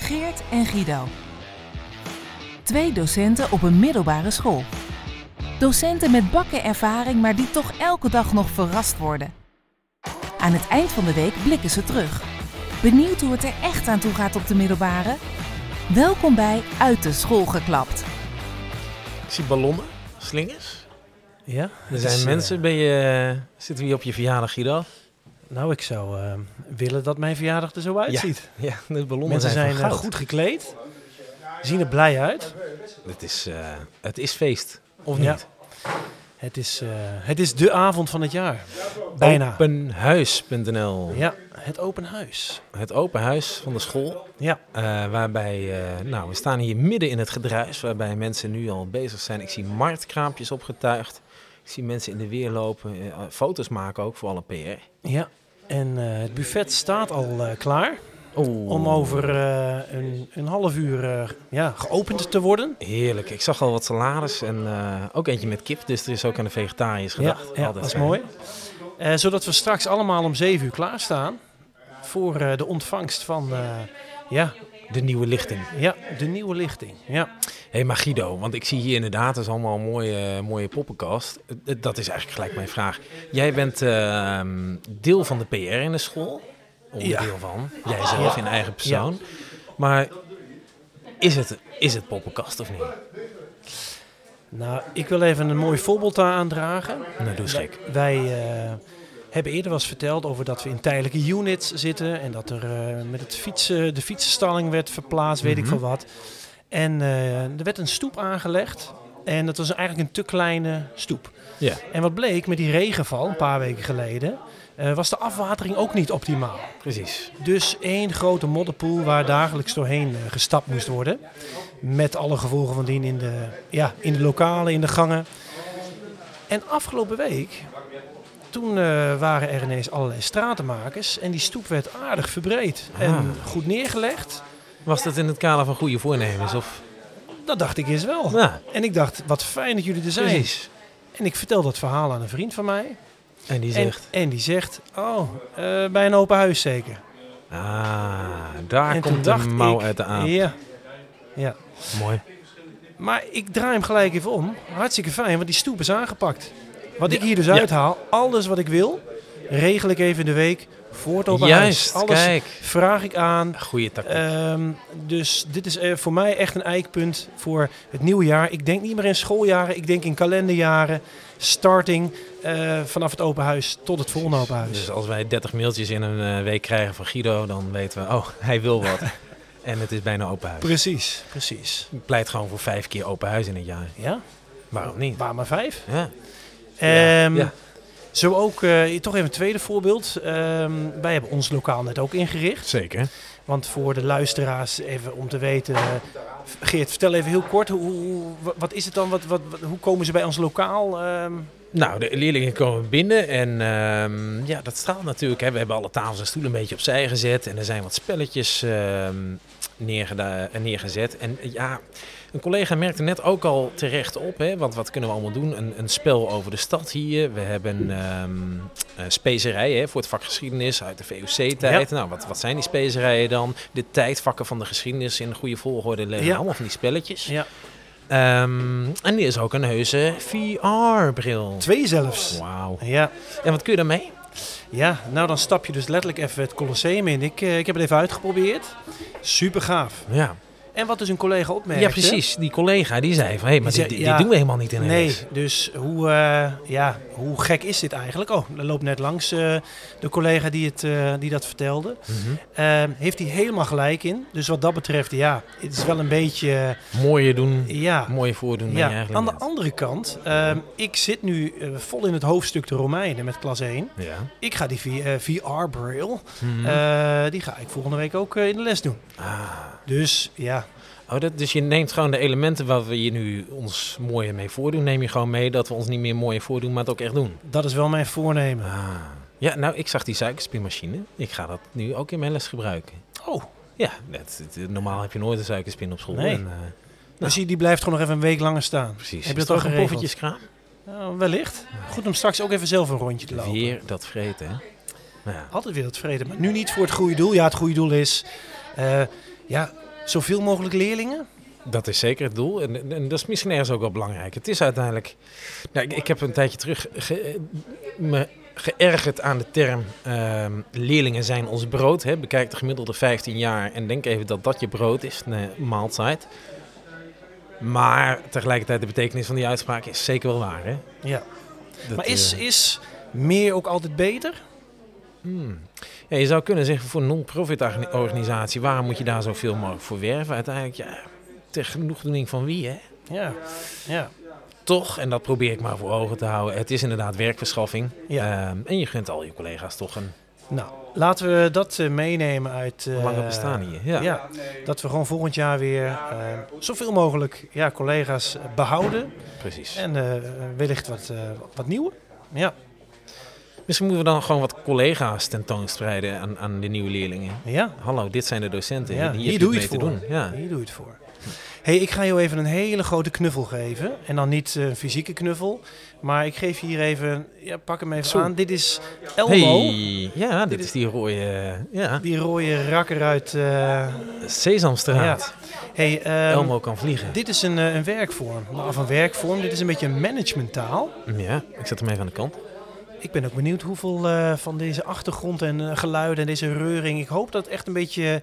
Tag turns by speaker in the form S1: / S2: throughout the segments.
S1: Geert en Guido. Twee docenten op een middelbare school. Docenten met bakken ervaring, maar die toch elke dag nog verrast worden. Aan het eind van de week blikken ze terug. Benieuwd hoe het er echt aan toe gaat op de middelbare? Welkom bij Uit de School geklapt.
S2: Ik zie ballonnen, slingers.
S3: Ja,
S2: Er
S3: dus,
S2: zijn
S3: eh,
S2: mensen, ben je, zitten we hier op je verjaardag, Guido?
S3: nou, ik zou eh, willen dat mijn verjaardag er zo uitziet.
S2: Ja, de ballonnen
S3: Mensen zijn,
S2: van
S3: eh,
S2: goud.
S3: goed gekleed, zien er blij uit.
S2: Het is, eh, het is feest, of
S3: Ja.
S2: niet?
S3: Het is, eh, het is de avond van het jaar. Bijna.
S2: Openhuis.nl,
S3: Ja, het open huis.
S2: het open huis van de school.
S3: Ja,
S2: eh, waarbij, eh, nou, we staan hier midden in het gedruis, waarbij mensen nu al bezig zijn. Ik zie marktkraampjes opgetuigd. Ik zie mensen in de weer lopen, eh, foto's maken ook voor alle PR.
S3: ja. En eh, het buffet staat al eh, klaar
S2: Oeh.
S3: om over eh, een, een half uur eh, ja, geopend te worden.
S2: Heerlijk. Ik zag al wat salades en eh, ook eentje met kip. Dus er is ook aan de vegetariërs
S3: Ja,
S2: gedacht.
S3: ja
S2: Altijd
S3: dat is
S2: fijn.
S3: mooi. Eh, zodat we straks allemaal om zeven uur klaarstaan voor eh, de ontvangst van eh, ja,
S2: De nieuwe lichting.
S3: Ja, de nieuwe lichting. Ja,
S2: Hé, hey, maar Guido, want ik zie hier inderdaad, dat is allemaal een mooie, mooie poppenkast. Eh, eh, Dat is eigenlijk gelijk mijn vraag. Jij bent eh, deel van de PR in de school. Onderdeel van. Jijzelf in eigen persoon. Maar is het, is het poppenkast of niet?
S3: nou, ik wil even een mooi voorbeeld daar aandragen.
S2: Nou, doe schrik.
S3: Wij eh, hebben eerder was verteld over dat we in tijdelijke units zitten en dat er eh, met het fietsen, de fietsenstalling werd verplaatst, weet ik veel wat. En eh, er werd een stoep aangelegd en dat was eigenlijk een te kleine stoep.
S2: Ja.
S3: En wat bleek met die regenval een paar weken geleden, eh, was de afwatering ook niet optimaal.
S2: Precies.
S3: Dus één grote modderpoel waar dagelijks doorheen eh, gestapt moest worden. Met alle gevolgen van dien in de, ja, in de lokalen, in de gangen. En afgelopen week, toen eh, waren er ineens allerlei stratenmakers. En die stoep werd aardig verbreed en
S2: Ah.
S3: goed neergelegd.
S2: Was dat in het kader van goede voornemens? Of?
S3: Dat dacht ik eerst wel.
S2: Ja,
S3: En ik dacht, wat fijn dat jullie er zijn.
S2: precies.
S3: En ik vertel dat verhaal aan een vriend van mij.
S2: En die
S3: En,
S2: zegt...
S3: en die zegt, oh, eh, bij een open huis zeker.
S2: Ah, daar
S3: en
S2: komt de mouw uit de aap.
S3: Ja, ja.
S2: Mooi.
S3: Maar ik draai hem gelijk even om. Hartstikke fijn, want die stoep is aangepakt. Wat ik
S2: Ja,
S3: hier dus
S2: ja.
S3: uithaal, alles wat ik wil, regel ik even in de week voor het open
S2: Juist,
S3: huis. Alles
S2: kijk.
S3: vraag ik aan.
S2: Goeie tactiek.
S3: Ehm, dus dit is eh, voor mij echt een eikpunt voor het nieuwe jaar. Ik denk niet meer in schooljaren, ik denk in kalenderjaren. Starting eh, vanaf het open huis tot het volgende open huis.
S2: Dus als wij 30 mailtjes in een eh, week krijgen van Guido, dan weten we, oh, hij wil wat. en het is bijna open huis.
S3: Precies, precies.
S2: Ik pleit gewoon voor vijf keer open huis in het jaar.
S3: Ja,
S2: Waarom niet?
S3: waar maar vijf.
S2: Ja.
S3: Ehm,
S2: Ja.
S3: Zo ook, eh, toch even een tweede voorbeeld. Ehm, wij hebben ons lokaal net ook ingericht.
S2: Zeker.
S3: Want voor de luisteraars, even om te weten. eh, Geert, vertel even heel kort. Hoe, hoe- wa- wat is het dan? Wat, wat, wat- hoe komen ze bij ons lokaal? ehm?
S2: Nou, de leerlingen komen binnen en ehm, ja, dat straalt natuurlijk. Hè. We hebben alle tafels en stoelen een beetje opzij gezet en er zijn wat spelletjes ehm, neergeda- eh, neergezet. En eh, ja, een collega merkte net ook al terecht op, hè, want wat kunnen we allemaal doen? Een, een spel over de stad hier. We hebben ehm eh, specerijen hè, voor het vak geschiedenis uit de VOC-tijd. Nou, wat, wat zijn die specerijen dan? De tijdvakken van de geschiedenis in de goede volgorde leggen.
S3: Ja.
S2: Allemaal van die spelletjes.
S3: ja,
S2: Ehm, en er is ook een heuse VR-bril.
S3: twee zelfs.
S2: Wauw.
S3: Ja,
S2: En wat kun je daarmee?
S3: ja, nou dan stap je dus letterlijk even het Colosseum in. Ik, eh, ik heb het even uitgeprobeerd. Super gaaf.
S2: Ja,
S3: En wat dus een collega opmerkte.
S2: ja precies. Die collega die zei van, hé, maar
S3: Die
S2: dit,
S3: zei,
S2: dit
S3: ja.
S2: doen we helemaal niet in een
S3: Nee,
S2: les.
S3: dus hoe, eh, ja, hoe gek is dit eigenlijk? Oh, er loopt net langs eh, de collega die, het, eh, die dat vertelde.
S2: Mhm.
S3: Ehm, heeft hij helemaal gelijk in. Dus wat dat betreft, ja, het is wel een beetje, eh,
S2: Mooier doen,
S3: ja...
S2: mooier voordoen dan je
S3: Ja,
S2: eigenlijk
S3: aan de
S2: bent.
S3: andere kant, ehm, ik zit nu eh, vol in het hoofdstuk de Romeinen met klas 1.
S2: Ja.
S3: Ik ga die eh, VR-braille,
S2: Mhm.
S3: eh, die ga ik volgende week ook eh, in de les doen.
S2: Ah.
S3: Dus ja,
S2: Oh, dat, dus je neemt gewoon de elementen waar we hier nu ons mooier mee voordoen, neem je gewoon mee dat we ons niet meer mooier voordoen, maar het ook echt doen.
S3: dat is wel mijn voornemen.
S2: Ah. Ja, nou, ik zag die suikerspinmachine. Ik ga dat nu ook in mijn les gebruiken.
S3: Oh,
S2: Ja, dat, dat- normaal heb je nooit een suikerspin op school.
S3: Nee.
S2: En, eh,
S3: dus die, die blijft gewoon nog even een week langer staan.
S2: precies.
S3: Heb je
S2: Is
S3: dat al
S2: toch een
S3: geregeld?
S2: poffertjeskraam?
S3: Nou, wellicht. Goed om straks ook even zelf een rondje te lopen.
S2: Weer dat vreten, hè? Nou Ja.
S3: Altijd weer dat vrede, maar nu niet voor het goede doel. Ja, het goede doel is, eh, ja, zoveel mogelijk leerlingen?
S2: Dat is zeker het doel. En, en, en dat is misschien ergens ook wel belangrijk. Het is uiteindelijk. Nou, ik, ik heb een tijdje terug ge- me geërgerd aan de term ehm, leerlingen zijn ons brood. Hè. Bekijk de gemiddelde 15 jaar en denk even dat dat je brood is, de maaltijd. Maar tegelijkertijd de betekenis van die uitspraak is zeker wel waar. Hè?
S3: Ja.
S2: Dat,
S3: maar is,
S2: eh,
S3: is meer ook altijd beter?
S2: hmm. Ja, je zou kunnen zeggen voor een non-profit orga- organisatie, waarom moet je daar zoveel mogelijk voor werven? Uiteindelijk, ja, ter genoegdoening van wie, hè?
S3: Ja. Ja.
S2: toch, en dat probeer ik maar voor ogen te houden, het is inderdaad werkverschaffing.
S3: Ja.
S2: Ehm, en je gunt al je collega's toch een
S3: Nou, laten we dat eh, meenemen uit... eh,
S2: lange bestaan hier.
S3: Ja.
S2: Ja.
S3: dat we gewoon volgend jaar weer eh, zoveel mogelijk ja, collega's behouden.
S2: precies.
S3: En eh, wellicht wat, eh, wat nieuwe. Ja,
S2: Misschien moeten we dan gewoon wat collega's tentoonspreiden aan, aan de nieuwe leerlingen.
S3: ja.
S2: Hallo, dit zijn de docenten.
S3: Ja,
S2: hier
S3: hier
S2: heb
S3: doe je
S2: mee
S3: het
S2: te
S3: voor.
S2: doen. Ja.
S3: Hier doe je het voor. hey, ik ga jou even een hele grote knuffel geven. En dan niet eh, een fysieke knuffel. Maar ik geef je hier even... Ja, pak hem even
S2: Zo.
S3: aan. Dit is Elmo.
S2: Hey, ja, dit is die rode ja,
S3: Die rode rakker uit... eh,
S2: Sesamstraat.
S3: hey, ehm,
S2: Elmo kan vliegen.
S3: Dit is een, eh, een werkvorm. Nou, Of een werkvorm. Dit is een beetje een managementtaal.
S2: Mm, Ja, ik zet hem even aan de kant.
S3: Ik ben ook benieuwd hoeveel eh, van deze achtergrond en eh, geluiden en deze reuring. Ik hoop dat het echt een beetje, een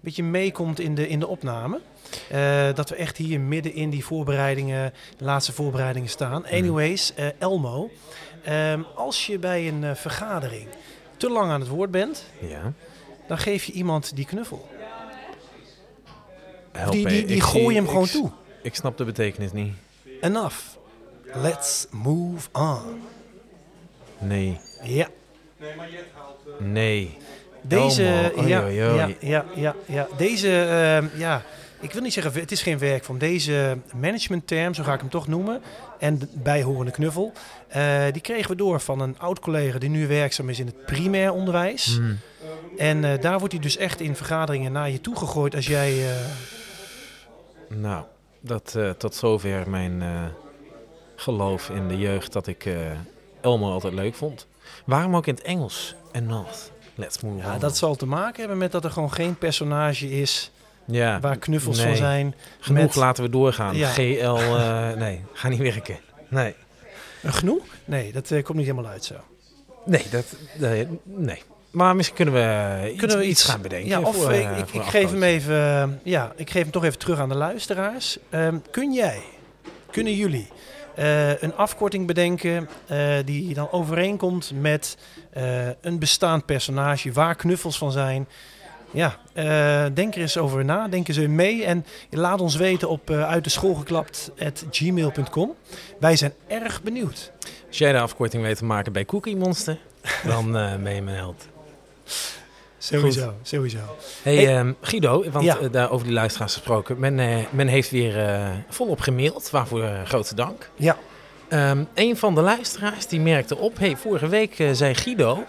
S3: beetje meekomt in de, in de opname. Eh, dat we echt hier midden in die voorbereidingen, de laatste voorbereidingen staan.
S2: Mhm.
S3: Anyways, eh, Elmo, ehm, als je bij een eh, vergadering te lang aan het woord bent,
S2: Ja.
S3: dan geef je iemand die knuffel. Of
S2: Help,
S3: die
S2: hey,
S3: die, die
S2: ik
S3: gooi
S2: zie-
S3: hem
S2: ik
S3: gewoon
S2: s-
S3: toe.
S2: Ik snap de betekenis niet.
S3: Enough. Let's move on.
S2: Nee,
S3: Ja,
S2: nee.
S3: Deze,
S2: Elmo, oei,
S3: ja,
S2: Oh, oei,
S3: ja,
S2: oei.
S3: ja, ja, ja. Deze, ehm, ja, ik wil niet zeggen, het is geen werk van deze managementterm, zo ga ik hem toch noemen, en de bijhorende knuffel, eh, die kregen we door van een oud collega die nu werkzaam is in het primair onderwijs.
S2: Hmm.
S3: En eh, daar wordt hij dus echt in vergaderingen naar je toe gegooid als jij, eh,
S2: Nou, dat, eh, tot zover mijn eh, geloof in de jeugd dat ik eh, Elmo altijd leuk vond. Waarom ook in het Engels en not? Let's move
S3: ja,
S2: on.
S3: dat zal te maken hebben met dat er gewoon geen personage is
S2: Ja,
S3: waar knuffels
S2: nee.
S3: van zijn.
S2: Genoeg,
S3: met-
S2: laten we doorgaan.
S3: Ja.
S2: GL, eh, nee, ga niet werken. Nee,
S3: Een genoeg? Nee, dat eh, komt niet helemaal uit zo.
S2: nee, dat, nee, nee. Maar misschien kunnen we,
S3: Kunnen we iets-
S2: gaan bedenken.
S3: Ja, of
S2: voor,
S3: eh,
S2: eh,
S3: ik, ik,
S2: voor
S3: ik
S2: een
S3: geef hem
S2: afkoopje.
S3: even, eh, ja, ik geef hem toch even terug aan de luisteraars. Ehm, kun jij, kunnen jullie eh, een afkorting bedenken eh, die dan overeenkomt met eh, een bestaand personage waar knuffels van zijn? Ja, eh, denk er eens over na, denk eens mee en laat ons weten op eh uit de school gmail.com. Wij zijn erg benieuwd.
S2: Als jij de afkorting weet te maken bij Cookie Monster, dan eh ben je mijn held.
S3: Sowieso, sowieso.
S2: Hey,
S3: Hey.
S2: ehm, Guido, want
S3: Ja.
S2: eh, daar over die luisteraars gesproken. Men, eh, men heeft weer eh, volop gemaild, waarvoor eh, grote dank.
S3: Ja,
S2: Ehm, een van de luisteraars die merkte op, hey, vorige week eh, zei Guido,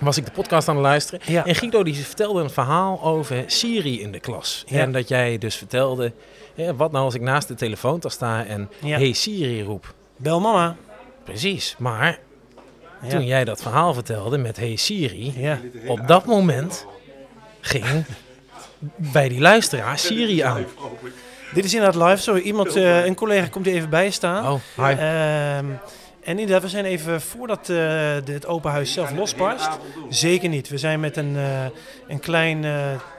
S2: was ik de podcast aan het luisteren.
S3: ja.
S2: En Guido die vertelde een verhaal over Siri in de klas.
S3: Ja.
S2: En dat jij dus vertelde, hè, wat nou als ik naast de telefoontas sta en
S3: Ja.
S2: hey Siri roep.
S3: Bel mama.
S2: Precies, maar
S3: Ja.
S2: toen jij dat verhaal vertelde met hey Siri,
S3: ja.
S2: op dat moment ging bij die luisteraar Siri aan.
S3: Dit is inderdaad live. Sorry, iemand, eh, een collega komt er even bij staan.
S2: Oh, hi.
S3: Ehm, en inderdaad, we zijn even voordat eh, de- het open huis zelf losbarst. Zeker niet. We zijn met een, eh, een klein eh,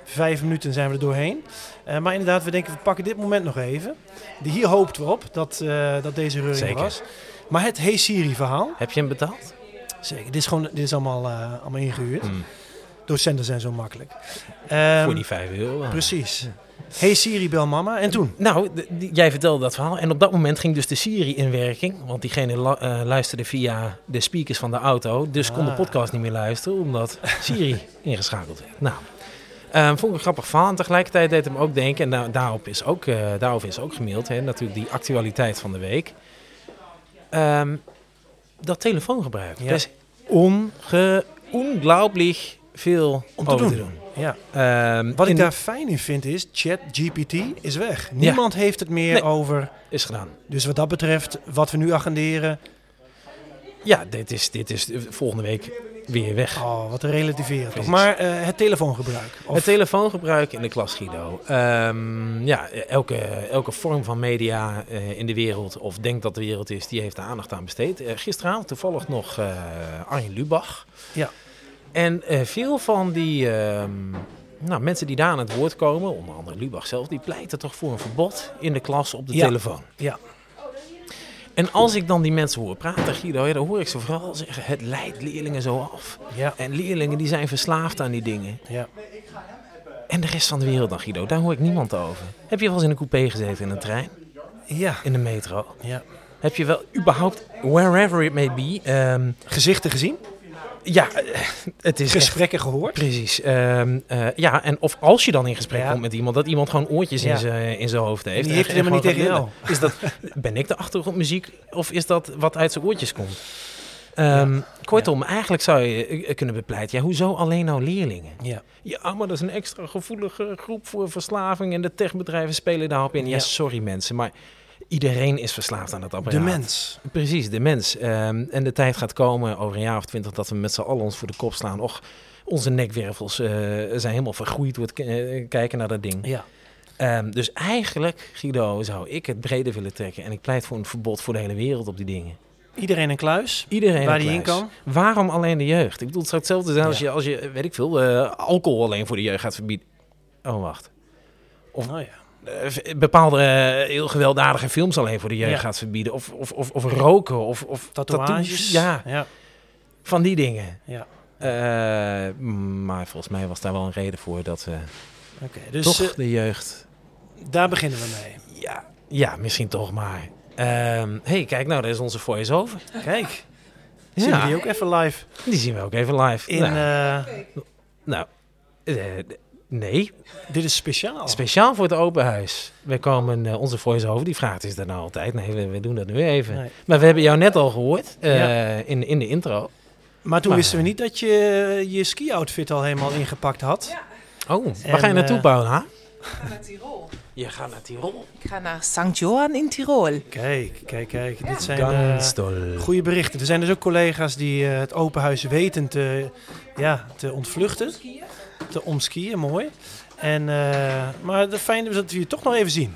S3: vijf minuten zijn we er doorheen. Eh, maar inderdaad, we denken we pakken dit moment nog even. De- Hier hoopten we op dat, eh, dat deze reuring
S2: Zeker.
S3: was. Maar het Hey Siri verhaal.
S2: Heb je hem betaald?
S3: Zeker. Dit is, gewoon, dit is allemaal, eh, allemaal ingehuurd.
S2: Hmm.
S3: Docenten zijn zo makkelijk. Ehm,
S2: Voor die 5 euro.
S3: Precies. Hey Siri, bel mama. En toen?
S2: Nou, d- die- jij vertelde dat verhaal. En op dat moment ging dus de Siri in werking. Want diegene la- eh, luisterde via de speakers van de auto. Dus kon de
S3: Ah.
S2: podcast niet meer luisteren, omdat Siri ingeschakeld werd. Nou, eh, vond ik een grappig verhaal. En tegelijkertijd deed het me ook denken, en da- daarop is ook, eh, daarover is ook gemaild, hè, natuurlijk die actualiteit van de week. Ehm, dat telefoongebruik.
S3: Ja.
S2: Dat is onge- ongelooflijk veel
S3: Om te
S2: over
S3: doen. Ja.
S2: Ehm,
S3: Wat
S2: in-
S3: ik daar fijn in vind is, ChatGPT is weg. Niemand heeft het meer
S2: Nee.
S3: over.
S2: is gedaan.
S3: Dus wat dat betreft, wat we nu agenderen.
S2: Ja, dit is, dit is eh, volgende week weer weg.
S3: Oh, wat te relativeren toch.
S2: Precies.
S3: Maar eh, het telefoongebruik. Of,
S2: Het telefoongebruik in de klas, Guido. Ehm, ja, elke, elke vorm van media eh, in de wereld, of denkt dat de wereld is, die heeft daar aandacht aan besteed. Eh, gisteravond toevallig nog eh, Arjen Lubach.
S3: Ja.
S2: En eh, veel van die ehm, nou, mensen die daar aan het woord komen, onder andere Lubach zelf, die pleiten toch voor een verbod in de klas op de
S3: Ja.
S2: telefoon.
S3: Ja.
S2: En als ik dan die mensen hoor praten, Guido, ja, dan hoor ik ze vooral zeggen, het leidt leerlingen zo af.
S3: ja,
S2: En leerlingen die zijn verslaafd aan die dingen.
S3: ja.
S2: En de rest van de wereld dan, Guido? Daar hoor ik niemand over. Heb je wel eens in een coupé gezeten in een trein?
S3: Ja.
S2: In de metro?
S3: ja.
S2: Heb je wel überhaupt, wherever it may be... ehm,
S3: Gezichten gezien,
S2: ja, eh, het is echt-
S3: gesprekken gehoord.
S2: Precies. ehm, eh, ja, en of als je dan in gesprek
S3: Ja.
S2: komt met iemand, dat iemand gewoon oortjes
S3: Ja.
S2: in zijn in zijn hoofd heeft.
S3: Die
S2: en
S3: heeft hij
S2: en
S3: helemaal
S2: gewoon
S3: niet
S2: gaat
S3: tegen
S2: lullen. Is dat, ben ik de achtergrondmuziek of is dat wat uit zijn oortjes komt? Ehm, Kortom, eigenlijk zou je eh, kunnen bepleiten, ja, hoezo alleen nou leerlingen?
S3: Ja.
S2: Ja, ah, maar dat is een extra gevoelige groep voor verslaving en de techbedrijven spelen daarop in. Ja,
S3: Ja.
S2: sorry mensen, maar iedereen is verslaafd aan dat
S3: De
S2: apparaat.
S3: mens.
S2: Precies, de mens. Ehm, en de tijd gaat komen over een jaar of twintig dat we met z'n allen ons voor de kop slaan. Och, onze nekwervels eh, zijn helemaal vergroeid door het k- eh, kijken naar dat ding.
S3: Ja.
S2: Ehm, dus eigenlijk, Guido, zou ik het breder willen trekken. En ik pleit voor een verbod voor de hele wereld op die dingen.
S3: Iedereen een kluis.
S2: Iedereen
S3: Waar
S2: een
S3: die in
S2: kluis.
S3: kan.
S2: Waarom alleen de jeugd? Ik bedoel, het zou hetzelfde zijn als, je, als je, weet ik veel, eh, alcohol alleen voor de jeugd gaat verbieden. Oh, wacht. Of-
S3: Oh, ja.
S2: Eh, v- bepaalde eh, heel gewelddadige films alleen voor de jeugd
S3: Ja.
S2: gaat verbieden. Of, of, of, of roken, of, of
S3: Tatoeages.
S2: Ja,
S3: ja.
S2: van die dingen.
S3: Ja.
S2: Eh, maar volgens mij was daar wel een reden voor dat eh
S3: Oké, dus
S2: toch
S3: eh,
S2: de jeugd...
S3: daar beginnen we mee.
S2: Ja, ja misschien toch maar. Ehm, hey, kijk nou, daar is onze voice-over.
S3: Kijk, zien we
S2: Ja,
S3: die ook even live
S2: die zien we ook even live.
S3: in...
S2: nou,
S3: eh,
S2: nou, eh, d- nee,
S3: dit is speciaal.
S2: Oh. speciaal voor het open huis. We komen, eh, onze voice-over, die vraagt is dat nou altijd? Nee, we, we doen dat nu even.
S3: Nee.
S2: Maar we hebben jou net al gehoord eh, in, in de intro.
S3: Maar toen
S2: Maar-
S3: wisten we niet dat je je ski-outfit al helemaal ingepakt had.
S2: Oh,
S3: En,
S2: waar ga je naartoe,
S3: eh,
S2: Paula?
S1: Ik ga naar Tirol.
S2: Je gaat naar Tirol.
S1: Ik ga naar Sankt Johan in Tirol.
S3: Kijk, kijk, kijk. Dit zijn eh,
S2: Ganz dol.
S3: goede berichten. Er zijn dus ook collega's die eh, het open huis weten te, ja, te ontvluchten. Te omskiën, mooi. En, eh, maar het fijn is dat we je toch nog even zien.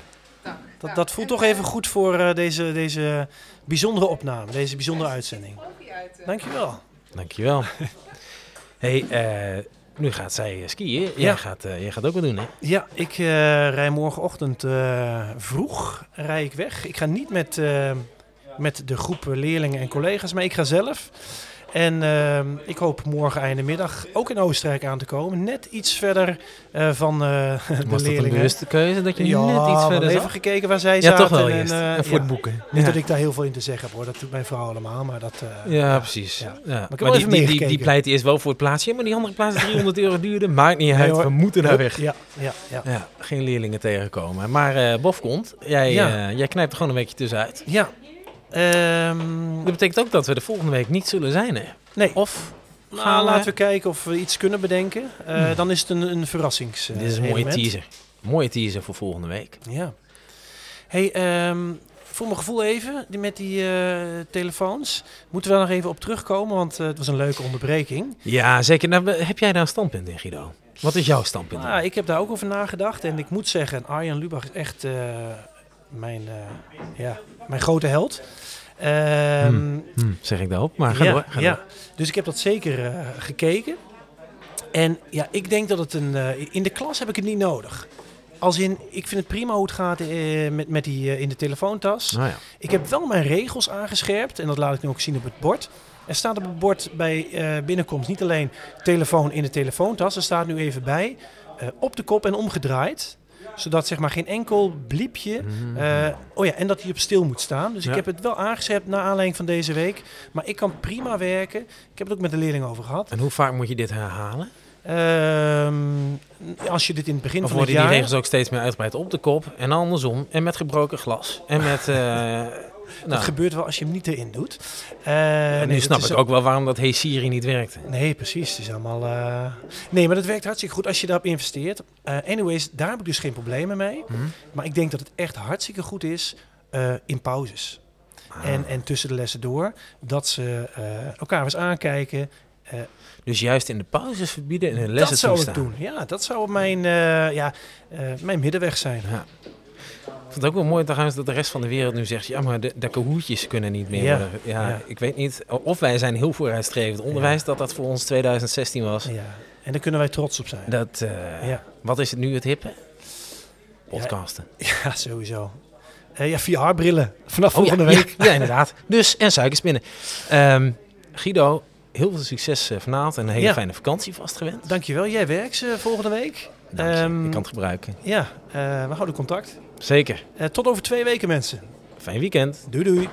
S3: Dat, dat voelt toch even goed voor eh, deze, deze bijzondere opname, deze bijzondere uitzending. Dankjewel.
S2: Dankjewel. hey, eh, nu gaat zij eh, skiën. Jij,
S3: Ja.
S2: gaat, eh, jij gaat ook wat doen, hè?
S3: Ja, ik eh, rij morgenochtend eh, vroeg rij ik weg. Ik ga niet met, eh, met de groep leerlingen en collega's, maar ik ga zelf. En eh, ik hoop morgen eindemiddag ook in Oostenrijk aan te komen. Net iets verder eh, van eh, de
S2: Was dat een
S3: leerlingen.
S2: bewuste keuze dat je
S3: ja,
S2: net iets
S3: we
S2: verder
S3: hebben
S2: zag?
S3: even gekeken waar zij
S2: Ja,
S3: zaten.
S2: toch wel
S3: en,
S2: eerst.
S3: eh,
S2: en voor
S3: ja.
S2: het boeken.
S3: Niet
S2: Ja.
S3: dat ik daar heel veel in te zeggen heb hoor, dat doet mijn vrouw allemaal. Maar dat, eh,
S2: Ja, precies.
S3: Ja.
S2: Ja.
S3: heb
S2: Maar
S3: wel
S2: die,
S3: even
S2: die, die, die
S3: meegekeken.
S2: pleit eerst wel voor het plaatsje, maar die andere plaats die 300 euro duurde. Maakt niet uit,
S3: hoor.
S2: we moeten daar weg.
S3: Oh, Ja, ja, ja.
S2: Ja, geen leerlingen tegenkomen. Maar eh Bof komt, jij,
S3: Ja.
S2: eh, jij knijpt er gewoon een beetje tussenuit.
S3: ja.
S2: Dat
S3: Ehm,
S2: betekent ook dat we de volgende week niet zullen zijn, hè?
S3: nee.
S2: Of
S3: Nou,
S2: gaan we-
S3: laten we kijken of we iets kunnen bedenken. Eh, Dan is het een, een verrassings. eh,
S2: Hmm. Dit is een mooie
S3: element.
S2: teaser. Mooie teaser voor volgende week.
S3: Ja. Hey, ehm, voor mijn gevoel even die- met die eh, telefoons. Moeten we daar nog even op terugkomen, want eh, het was een leuke onderbreking.
S2: Ja, zeker. Nou, we- heb jij daar een standpunt in, Guido? Wat is jouw standpunt?
S3: Maar Nou, ik heb daar ook over nagedacht en ik moet zeggen, Arjan Lubach is echt eh, mijn, eh, ja, mijn grote held. Ehm
S2: Hm, zeg ik daarop, maar ga
S3: ja,
S2: door. Ga
S3: ja.
S2: door.
S3: Dus ik heb dat zeker eh, gekeken. En ja, ik denk dat het een. eh, in de klas heb ik het niet nodig. Als in, ik vind het prima hoe het gaat eh, met, met die eh, in de telefoontas.
S2: Nou ja.
S3: Ik heb wel mijn regels aangescherpt en dat laat ik nu ook zien op het bord. Er staat op het bord bij eh, binnenkomst niet alleen telefoon in de telefoontas. Er staat nu even bij eh, op de kop en omgedraaid. Zodat zeg maar geen enkel bliepje. eh, oh ja, en dat hij op stil moet staan. Dus ik
S2: Ja.
S3: heb het wel aangescherpt naar aanleiding van deze week. Maar ik kan prima werken. Ik heb het ook met de leerlingen over gehad.
S2: En hoe vaak moet je dit herhalen?
S3: Ehm, als je dit in het begin
S2: Of
S3: van
S2: worden
S3: het
S2: die
S3: jaar...
S2: regels ook steeds meer uitgebreid op de kop en andersom en met gebroken glas en met... eh,
S3: Dat
S2: nou,
S3: gebeurt wel als je hem niet erin doet. Eh,
S2: en nu
S3: nee, dat
S2: snap
S3: is
S2: ik ook wel waarom dat Hey Siri niet werkte.
S3: Nee, precies. Het is allemaal. eh, Nee, maar dat werkt hartstikke goed als je daarop investeert. Eh, anyways, daar heb ik dus geen problemen mee.
S2: Hm?
S3: Maar ik denk dat het echt hartstikke goed is eh, in pauzes.
S2: Ah,
S3: En, en tussen de lessen door. Dat ze eh, elkaar eens aankijken. eh, Eh,
S2: Dus juist in de pauzes verbieden en in de
S3: dat
S2: lessen
S3: zou ik
S2: toestaan.
S3: doen. Ja, dat zou mijn, eh, ja, eh, mijn middenweg zijn.
S2: Ja. Ik vond het ook wel mooi trouwens dat de rest van de wereld nu zegt... ja, maar de, de kahootjes kunnen niet meer
S3: Ja,
S2: worden. Ja,
S3: ja.
S2: Ik weet niet of wij zijn heel vooruitstrevend onderwijs... dat dat voor ons 2016 was.
S3: Ja. En daar kunnen wij trots op zijn.
S2: Dat, eh,
S3: Ja.
S2: Wat is het nu het hippe? Podcasten.
S3: Ja, sowieso. Eh ja, VR-brillen. Vanaf
S2: Oh, ja,
S3: volgende
S2: ja,
S3: week.
S2: Ja, inderdaad. Dus, en suikerspinnen. Ehm, Guido, heel veel succes eh, vanavond en een hele
S3: Ja.
S2: fijne vakantie vastgewend.
S3: Dankjewel. Jij werkt ze volgende week.
S2: Dank je.
S3: Ehm,
S2: ik kan het gebruiken.
S3: Ja, eh, we houden contact.
S2: Zeker.
S3: Eh, tot over twee weken, mensen.
S2: Fijn weekend.
S3: Doei doei.